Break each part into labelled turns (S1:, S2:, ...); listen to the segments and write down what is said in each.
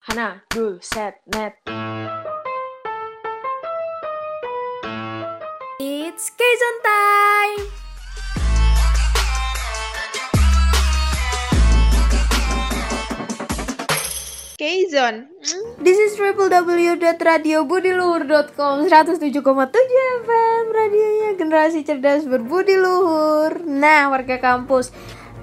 S1: Hana, dul, set, net.
S2: It's Kaizon time!
S3: K-Zone.
S2: This is www.radiobudiluhur.com 107,7 FM Radionya generasi cerdas berbudi luhur Nah warga kampus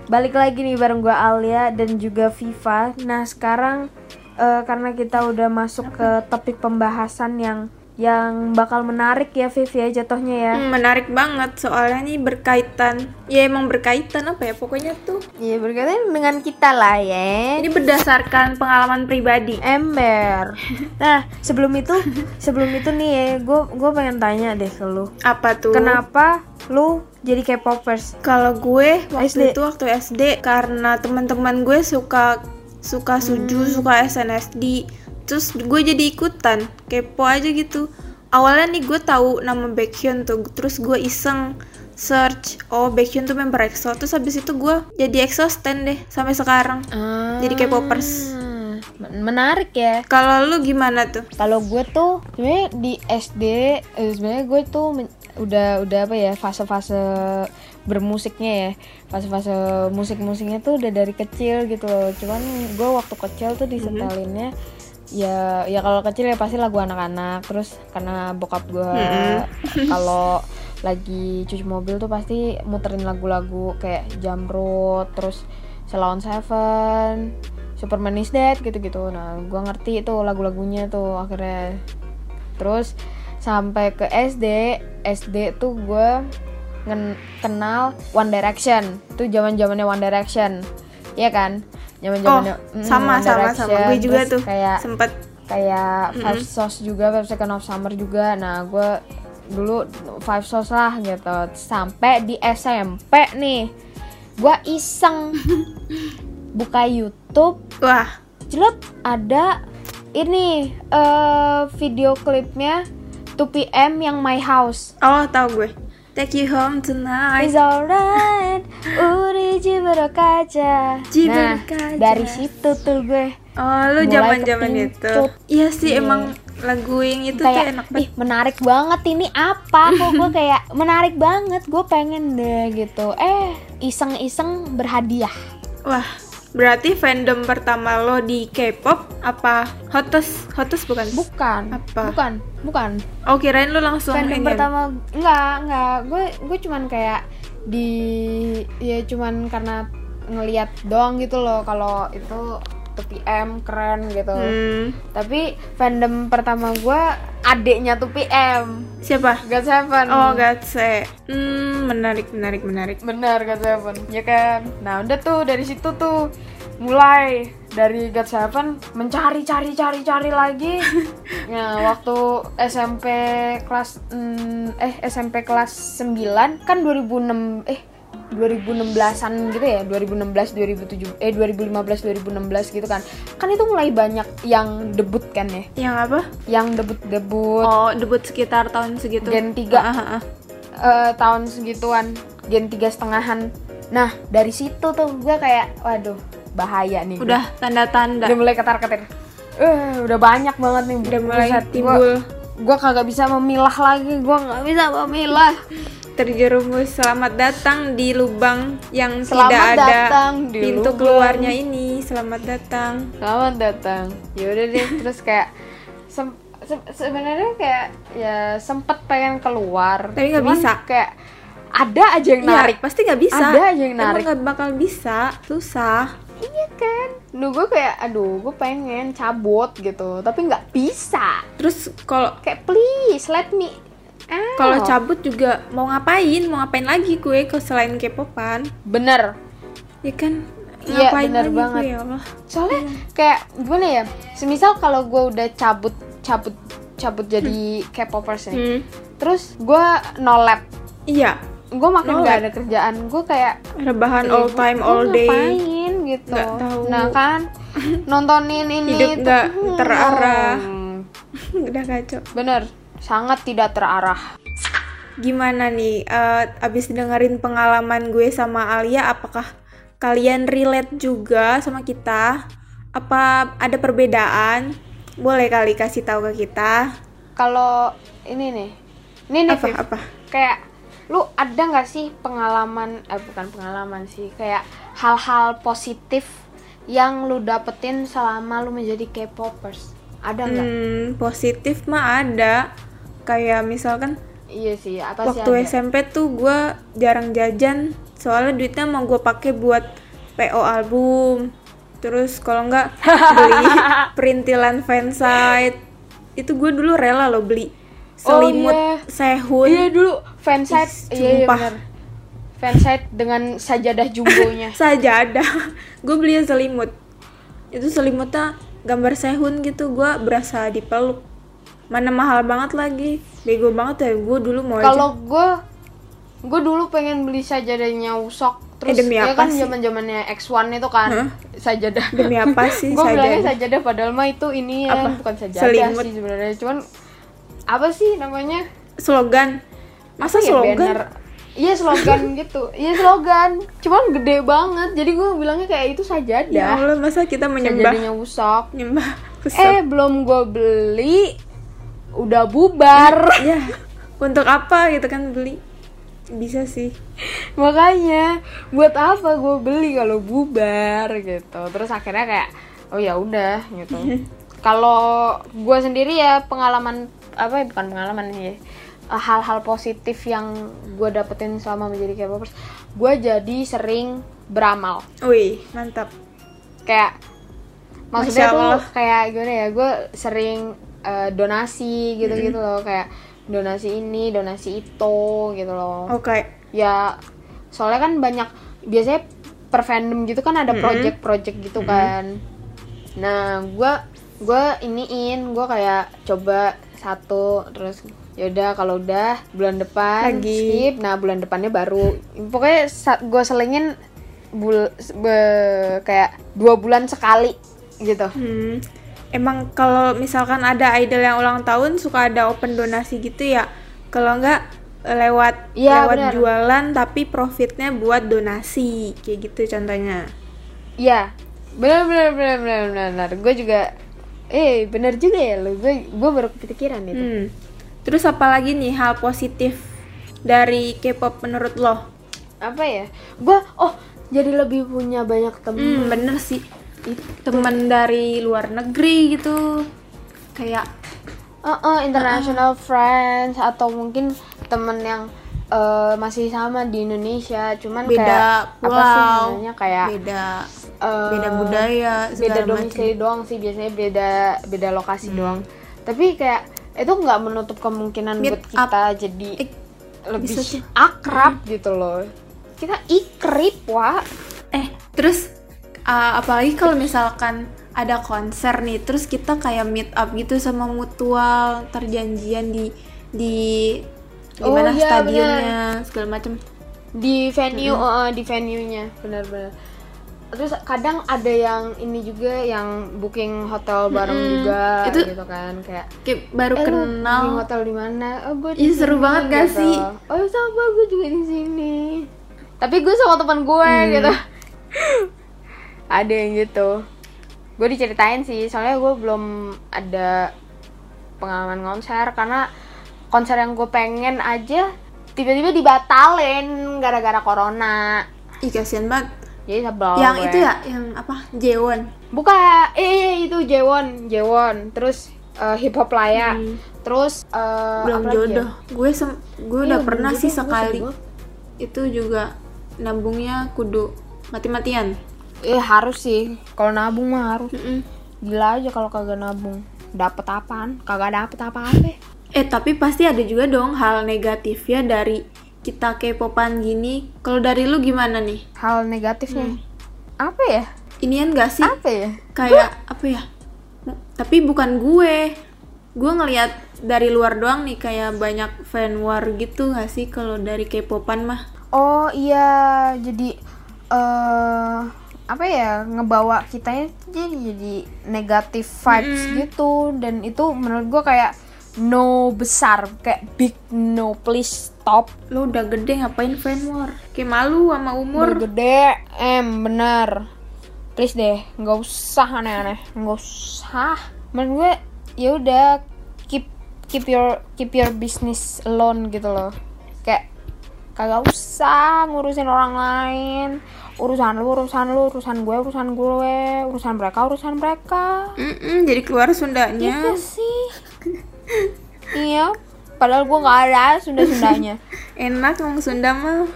S2: Balik lagi nih bareng gue Alia dan juga Viva Nah sekarang eh, karena kita udah masuk ke topik pembahasan yang yang bakal menarik ya Viv ya jatuhnya ya
S3: Hmm, Menarik banget soalnya nih berkaitan. Ya emang berkaitan apa ya pokoknya tuh.
S2: Iya berkaitan dengan kita lah ya
S3: Ini berdasarkan pengalaman pribadi.
S2: ember. Nah, sebelum itu, sebelum itu nih ya, gue gue pengen tanya deh ke lu.
S3: Apa tuh?
S2: Kenapa lu jadi K-popers?
S3: Kalau gue waktu
S2: SD.
S3: itu waktu SD karena teman-teman gue suka suka suju, suka SNSD. Terus gue jadi ikutan, kepo aja gitu. Awalnya nih gue tahu nama Baekhyun tuh, terus gue iseng search, oh Baekhyun tuh member EXO. Terus habis itu gue jadi EXO stan deh sampai sekarang. Jadi K-popers.
S1: Ah, Menarik ya.
S3: Kalau lu gimana tuh?
S1: Kalau gue tuh sebenarnya di SD eh, sebenarnya gue tuh men- udah udah apa ya fase-fase bermusiknya ya fase-fase musik-musiknya tuh udah dari kecil gitu loh cuman gue waktu kecil tuh disetelinnya ya ya kalau kecil ya pasti lagu anak-anak terus karena bokap gue kalau lagi cuci mobil tuh pasti muterin lagu-lagu kayak Jamrud terus Selawan Seven Superman is Dead gitu-gitu nah gue ngerti itu lagu-lagunya tuh akhirnya terus sampai ke SD SD tuh gue ngen- kenal One Direction itu zaman zamannya One Direction Iya kan zaman mm, zamannya
S3: oh, sama sama sama. Gue juga tuh
S1: kayak
S3: sempet
S1: kayak Five Sauce juga Five Second of Summer juga nah gue dulu Five Sauce lah gitu sampai di SMP nih gue iseng buka YouTube
S3: wah
S1: jelut ada ini eh, video klipnya 2PM yang My House
S3: Oh, tahu gue. Take you home tonight.
S1: It's alright, uri jiburo kaca.
S3: Jiburo
S1: Nah,
S3: kaca.
S1: dari situ tuh gue
S3: Oh, lu
S1: Mulai
S3: zaman-zaman itu.
S1: kepincut.
S3: Iya sih, emang lagu yang itu tuh enak
S1: kayak
S3: banget.
S1: ih menarik banget ini apa kok gue kayak menarik banget gue pengen deh gitu eh iseng-iseng berhadiah
S3: Wah, berarti fandom pertama lo di K-pop apa Hotus? Hotus bukan?
S1: bukan
S3: Apa?
S1: bukan bukan
S3: oh, kirain lo langsung
S1: fandom
S3: ini.
S1: pertama enggak enggak gue gue cuman kayak di ya cuman karena ngelihat doang gitu loh kalau itu 2PM keren gitu
S3: Hmm,
S1: tapi fandom pertama gue adiknya 2PM
S3: siapa?
S1: God Seven
S3: Oh, Gatse. Hmm, menarik, menarik, menarik.
S1: Benar God Seven, ya kan? Nah udah tuh dari situ tuh mulai dari God Seven mencari cari cari cari lagi. nah waktu SMP kelas mm, eh SMP kelas 9 kan 2006 eh 2016-an gitu ya 2016 2007 eh 2015 2016 gitu kan kan itu mulai banyak yang debut kan ya
S3: Yang apa?
S1: yang debut debut
S3: Oh, debut sekitar tahun segitu.
S1: Gen tiga.
S3: Ah, ah, ah.
S1: eh, tahun segituan gen tiga setengahan nah dari situ tuh gue kayak waduh bahaya nih
S3: Udah tanda-tanda.
S1: udah mulai ketar ketir eh udah banyak banget nih
S3: Udah mulai
S1: Buset, gua-
S3: timbul.
S1: gua kagak bisa memilah lagi gua nggak bisa memilah
S3: terjerumus selamat datang di lubang yang
S1: Selamat
S3: tidak ada
S1: datang di
S3: pintu
S1: lubang.
S3: keluarnya ini selamat datang
S1: selamat datang yaudah deh terus kayak sem- se- sebenarnya kayak ya sempet pengen keluar
S3: Tapi nggak
S1: Cuman
S3: bisa.
S1: kayak ada aja yang narik
S3: Iya, pasti nggak bisa
S1: Ada aja yang narik.
S3: emang nggak bakal bisa susah
S1: iya kan Duh gue kayak aduh gue pengen cabut gitu tapi nggak bisa
S3: terus kalau
S1: kayak please let me out.
S3: kalau cabut juga mau ngapain mau ngapain lagi gue ke selain kepopan
S1: bener
S3: ya kan
S1: Iya,
S3: ngapain
S1: bener
S3: lagi
S1: banget.
S3: gue ya Allah
S1: soalnya kayak gimana ya semisal kalau gue udah cabut cabut cabut jadi K-popers nih
S3: Hmm,
S1: terus gue no lab
S3: iya
S1: gue makin
S3: No
S1: nggak
S3: lab.
S1: ada kerjaan gue kayak
S3: rebahan
S1: eh,
S3: all
S1: gua-
S3: time
S1: gua
S3: all day
S1: ngapain gitu
S3: Nggak tahu.
S1: nah kan nontonin ini
S3: Hidup
S1: itu.
S3: nggak
S1: Hmm,
S3: terarah.
S1: hmm.
S3: udah kacau
S1: bener sangat tidak terarah
S3: gimana nih eh, abis dengerin pengalaman gue sama Alia apakah kalian relate juga sama kita apa ada perbedaan boleh kali kasih tahu ke kita
S1: Kalau ini nih, ini nih
S3: apa
S1: Viv.
S3: apa
S1: kayak lu ada nggak sih pengalaman eh bukan pengalaman sih kayak hal-hal positif yang lu dapetin selama lu menjadi K-popers ada nggak?
S3: Hmm, positif mah ada kayak misalkan
S1: Iya sih, apa sih
S3: waktu
S1: ada?
S3: SMP tuh gue jarang jajan soalnya duitnya mau gue pakai buat PO album terus kalau nggak beli perintilan fansite itu gue dulu rela loh beli
S1: Oh,
S3: selimut
S1: iya.
S3: sehun
S1: Iya dulu fansite,
S3: Ih,
S1: iya iya
S3: sumpah.
S1: benar. Eh. Fansite dengan sajadah jumbonya.
S3: saja ada gue beli selimut itu selimutnya gambar sehun gitu gue berasa dipeluk mana mahal banget lagi bego banget ya gue dulu mau aja.
S1: Kalau gue gue dulu pengen beli sajadahnya Usok
S3: Eh,
S1: terus
S3: demi
S1: ya
S3: apa
S1: kan
S3: sih?
S1: zaman zamannya X1 itu kan
S3: Eh, Hah?
S1: sajadah
S3: demi apa sih
S1: gue bilangnya
S3: saja
S1: sajadah padahal mah itu ini ya
S3: Apa?
S1: bukan sajadah
S3: Selimut.
S1: sih sebenarnya cuman apa sih namanya
S3: slogan masa
S1: Apa ya,
S3: slogan
S1: banner? iya slogan gitu iya slogan cuman gede banget jadi gue bilangnya kayak itu sajadah
S3: Ya Allah, masa kita menyembah
S1: sajadahnya usok
S3: nyembah
S1: eh
S3: kesep.
S1: belum gue beli udah bubar
S3: ya. Untuk apa gitu kan beli? Bisa sih.
S1: makanya buat apa gue beli kalau bubar gitu terus akhirnya kayak oh ya udah gitu kalau gue sendiri ya pengalaman apa ya, bukan pengalaman sih eh, hal-hal positif yang gue dapetin selama menjadi K-popers gue jadi sering beramal
S3: Wih, mantap.
S1: kayak maksudnya
S3: Masya
S1: tuh
S3: Allah.
S1: kayak gimana ya gue sering eh, donasi gitu gitu loh kayak donasi ini donasi itu gitu loh
S3: Oke.
S1: ya soalnya kan banyak biasanya per fandom gitu kan ada project-project gitu kan nah gua gua iniin gua kayak coba satu terus yaudah kalau udah bulan depan
S3: Lagi.
S1: skip nah bulan depannya baru pokoknya sa- gua selingin bul be- kayak dua bulan sekali gitu
S3: Hmm. Emang kalau misalkan ada idol yang ulang tahun suka ada open donasi gitu ya. Kalau enggak lewat
S1: Iya,
S3: lewat
S1: benar.
S3: jualan tapi profitnya buat donasi kayak gitu contohnya.
S1: Iya, bener bener bener bener bener. bener. Gue juga, eh bener juga ya lo. Gue gue baru kepikiran ya. itu.
S3: Hmm. Terus apalagi nih hal positif dari K-pop menurut lo?
S1: apa ya gue oh jadi lebih punya banyak temen
S3: Hmm, bener sih. Teman dari luar negeri gitu. Kayak
S1: Eh, eh, international
S3: Uh-uh.
S1: friends atau mungkin temen yang eh, masih sama di Indonesia cuman
S3: beda
S1: Kan kayak apa sih
S3: pulau,
S1: namanya kayak
S3: beda
S1: eh,
S3: beda budaya,
S1: beda
S3: segala macam. Hmm.
S1: domisili doang sih biasanya beda beda lokasi doang tapi kayak itu nggak menutup kemungkinan
S3: Meet
S1: buat kita jadi
S3: Eh,
S1: lebih
S3: bisa sih.
S1: akrab gitu loh kita ikrip wah
S3: Eh, terus uh, apalagi kalau misalkan ada konser nih, terus kita kayak meet up gitu sama mutual, terjanjian di di di
S1: Oh,
S3: mana
S1: iya,
S3: stadionnya, segala macam.
S1: di venue eh, di venue nya benar-benar terus kadang ada yang ini juga yang booking hotel bareng
S3: Mm-mm.
S1: juga
S3: Itu
S1: gitu kan kayak
S3: Kayak baru
S1: "Eh, lu
S3: kenal.
S1: di hotel di mana oh gue
S3: Ih, seru banget gak sih?
S1: oh sama gue juga di sini tapi gue sama teman gue
S3: Hmm.
S1: gitu ada yang gitu gue diceritain sih soalnya gue belum ada pengalaman konser karena konser yang gue pengen aja tiba-tiba dibatalin gara-gara corona
S3: Ih, kasihan banget.
S1: jadi sebel
S3: yang
S1: gue.
S3: itu ya, yang apa? Jewon.
S1: buka eh itu Jewon Jewon terus eh, hip hop laya terus eh,
S3: Hmm. belum
S1: apa lagi ya?
S3: jodoh. Gue sem- gue
S1: Iya,
S3: udah
S1: belum
S3: pernah
S1: jodoh,
S3: sih
S1: gue
S3: sekali.
S1: sedih
S3: Itu juga nabungnya kudu mati-matian.
S1: eh harus sih kalau nabung mah harus
S3: Mm-mm.
S1: gila aja kalau kagak nabung dapat apaan kagak dapat apa-apa
S3: Eh tapi pasti ada juga dong hal negatifnya dari kita K-popan gini. Kalau dari lu gimana nih?
S1: hal negatifnya apa ya
S3: Inian gak sih?
S1: apa ya
S3: Kayak apa ya? M- Tapi bukan gue. Gue ngelihat dari luar doang nih kayak banyak fan war gitu gak sih kalau dari K-popan mah.
S1: oh iya jadi eh apa ya ngebawa kitanya jadi jadi negatif vibes gitu dan itu menurut gua kayak no besar kayak big no please stop
S3: Lu udah gede ngapain fan war? Kayak malu sama umur.
S1: gede em bener please deh nggak usah aneh-aneh nggak usah menurut gue ya udah keep keep your keep your business alone gitu loh kayak kagak usah ngurusin orang lain urusan lu urusan lu urusan gue urusan gue urusan mereka urusan mereka
S3: Mm-mm, jadi keluar
S1: Iya
S3: Sundanya.
S1: sih iya padahal gue nggak ada sunda sundanya
S3: Enak ngomong Sunda mah.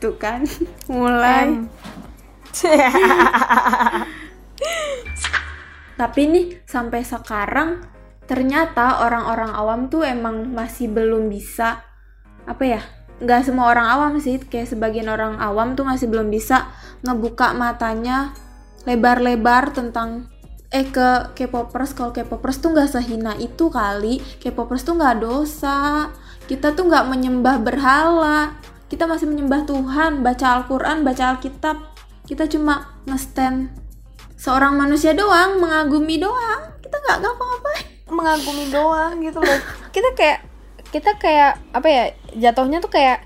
S3: Tuh kan. Mulai. Tapi nih sampai sekarang ternyata orang-orang awam tuh emang masih belum bisa apa ya? Nggak semua orang awam sih, kayak sebagian orang awam tuh masih belum bisa ngebuka matanya lebar-lebar tentang eh ke K-popers kalau K-popers tuh nggak sehina itu kali K-popers tuh nggak dosa kita tuh nggak menyembah berhala kita masih menyembah Tuhan baca Al-Quran baca Alkitab kita cuma nge-stand seorang manusia doang mengagumi doang kita nggak ngapa-ngapain
S1: mengagumi doang gitu loh kita kayak kita kayak apa ya jatuhnya tuh kayak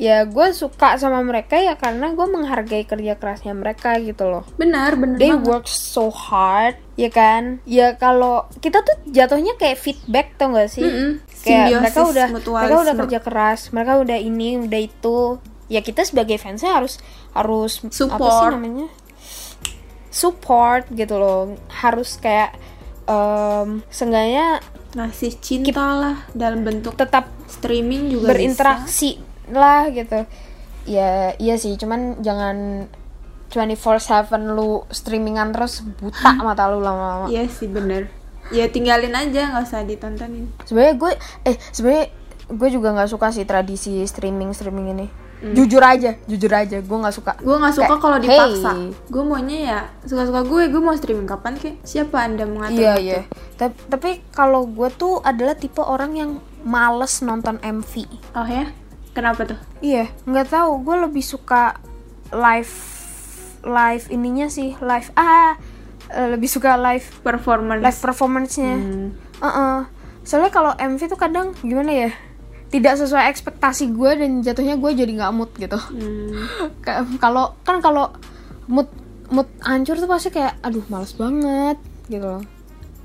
S1: ya gue suka sama mereka ya karena gue menghargai kerja kerasnya mereka gitu loh
S3: benar benar
S1: they
S3: banget.
S1: work so hard ya kan ya kalau kita tuh jatuhnya kayak feedback tau gak sih
S3: Mm-mm.
S1: kayak
S3: Simbiosis
S1: mereka udah mereka udah
S3: mutualisme.
S1: kerja keras mereka udah ini udah itu ya kita sebagai fansnya harus harus apa sih
S3: Support.
S1: namanya support gitu loh harus kayak em seenggaknya
S3: ngasih cinta lah dalam bentuk
S1: tetap
S3: streaming juga bisa.
S1: berinteraksi lah gitu ya iya sih cuman jangan 24/7 lu streamingan terus buta mata lu lama-lama
S3: iya sih benar ya tinggalin aja nggak usah ditontonin
S1: sebenarnya gue eh sebenarnya gue juga nggak suka sih tradisi streaming streaming ini jujur aja jujur aja gue nggak suka
S3: gue nggak suka
S1: Kayak,
S3: kalau
S1: hey.
S3: dipaksa gue maunya ya suka-suka gue gue mau streaming kapan kek siapa anda mengatur
S1: iya
S3: itu?
S1: iya Ta- tapi kalau gue tuh adalah tipe orang yang males nonton MV
S3: oh ya kenapa tuh
S1: iya nggak tahu gue lebih suka live live ininya sih live ah eh, lebih suka live
S3: performance
S1: live performance-nya
S3: Hmm.
S1: Uh-uh. soalnya kalau MV tuh kadang gimana ya tidak sesuai ekspektasi gue dan jatuhnya gue jadi nggak mood gitu
S3: Hmm.
S1: Ka- kalau kan kalau mood mood hancur tuh pasti kayak aduh males banget gitu loh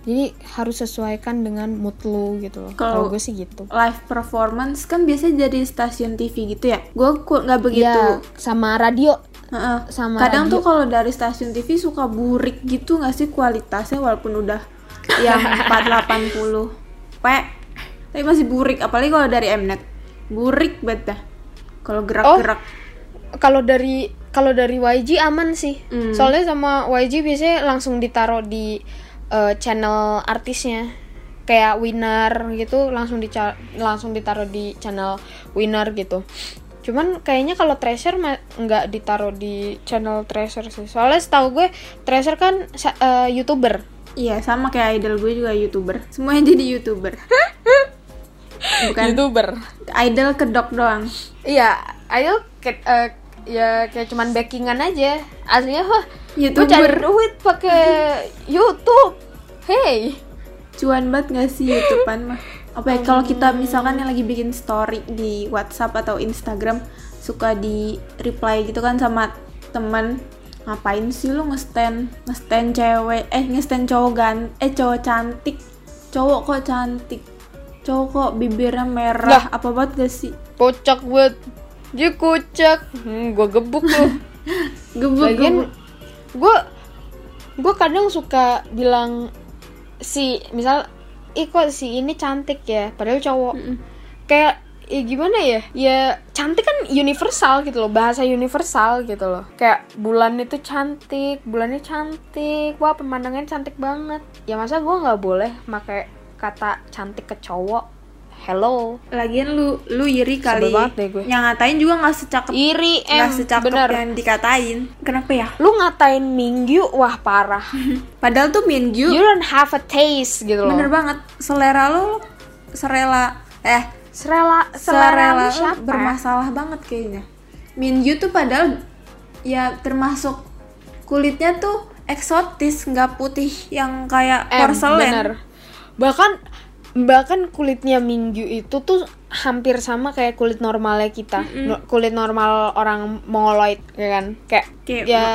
S1: jadi harus sesuaikan dengan mood lu gitu loh
S3: Kalau-
S1: kalau gue sih gitu
S3: live performance kan biasanya jadi stasiun TV gitu ya gue nggak begitu
S1: Iya, sama radio
S3: Heeh.
S1: sama
S3: kadang tuh
S1: radio.
S3: kalau dari stasiun TV suka burik gitu nggak sih kualitasnya walaupun udah yang 480 p tapi masih burik apalagi kalau dari Mnet burik banget dah kalau gerak-gerak
S1: Oh. kalau dari kalau dari YG aman sih
S3: Hmm.
S1: soalnya sama YG biasanya langsung ditaruh di eh, channel artisnya kayak winner gitu langsung di langsung ditaruh di channel winner gitu cuman kayaknya kalau treasure ma- nggak ditaruh di channel treasure sih soalnya setahu gue treasure kan sa- eh, youtuber
S3: iya sama kayak idol gue juga youtuber semuanya jadi youtuber bukan
S1: youtuber
S3: idol kedok doang
S1: Kan? iya ayo ke- eh, ya kayak cuman backingan aja aslinya wah
S3: YouTuber.
S1: gue cari duit pakai YouTube hey
S3: cuan banget gak sih youtubean mah apa ya kalau kita misalkan yang lagi bikin story di WhatsApp atau Instagram suka di reply gitu kan sama teman ngapain sih lu ngestand ngestand cewek eh ngestand cowok gan eh cowok cantik cowok kok cantik cowok kok bibirnya merah apa banget gak sih
S1: kocak buat dia kocak hmm, gue gebuk loh
S3: gebuk gebuk
S1: bagian gue gue kadang suka bilang si misal ih kok si ini cantik ya padahal cowok kayak ya gimana ya ya cantik kan universal gitu loh bahasa universal gitu loh kayak bulan itu cantik bulannya cantik wah pemandangan cantik banget ya masa gue nggak boleh pakai kata cantik ke cowok hello
S3: lagian lu lu iri kali
S1: Sebel banget deh gue.
S3: yang ngatain juga nggak secakep
S1: iri em
S3: nggak secakep
S1: bener
S3: yang dikatain kenapa ya
S1: lu ngatain minggu wah parah
S3: padahal tuh Mingyu
S1: you don't have a taste gitu loh
S3: Bener banget, selera lo serela eh
S1: serela selera
S3: selera
S1: lu
S3: lo
S1: siapa
S3: bermasalah banget kayaknya. Minju tuh padahal ya termasuk kulitnya tuh eksotis, nggak putih yang kayak
S1: Em,
S3: porselen.
S1: bener. bahkan bahkan kulitnya minggu itu tuh hampir sama kayak kulit normalnya kita No- kulit normal orang mongoloid ya kan kayak
S3: Kayak
S1: ya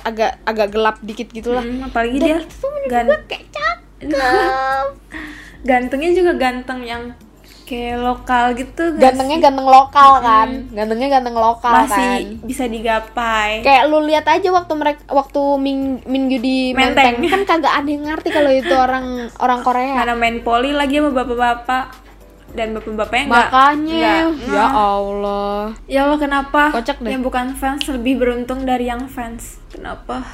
S1: agak agak gelap dikit gitu gitulah
S3: Hmm, apalagi dia gan
S1: kayak cakep Nah.
S3: gantengnya juga ganteng yang kayak lokal gitu nggak
S1: gantengnya ganteng lokal kan gantengnya ganteng lokal
S3: masih
S1: kan
S3: bisa digapai
S1: kayak lu lihat aja waktu mereka waktu Ming, minggu di
S3: Menteng.
S1: Menteng. kan kagak ada yang ngerti kalau itu orang orang Korea
S3: karena main poli lagi sama bapak-bapak dan bapak-bapaknya enggak
S1: makanya ya Allah
S3: ya Allah kenapa
S1: Kocak deh.
S3: yang bukan fans lebih beruntung dari yang fans kenapa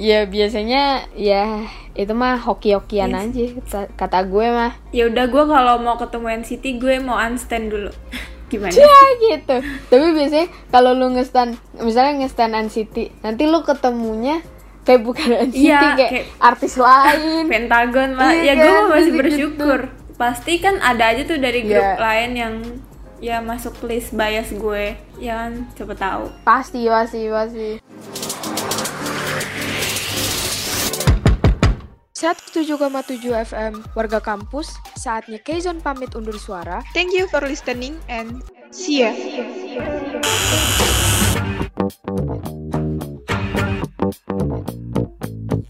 S1: ya biasanya ya itu mah hoki-hokian aja kata- kata gue mah
S3: ya udah gue kalau mau ketemu NCT gue mau unstand dulu gimana
S1: ya gitu tapi biasanya kalau lu ngestan misalnya ngestan NCT nanti lu ketemunya kayak bukan NCT
S3: Iya,
S1: kayak,
S3: kayak-
S1: artis lain
S3: Pentagon lah ya
S1: Iya
S3: gue
S1: kan,
S3: masih
S1: pasti
S3: bersyukur pasti kan ada aja tuh dari grup
S1: Iya.
S3: lain yang ya masuk list bias gue ya kan coba tahu
S1: pasti pasti pasti
S2: 107,7 FM Warga Kampus, saatnya Keizon pamit undur suara.
S4: Thank you for listening and see ya.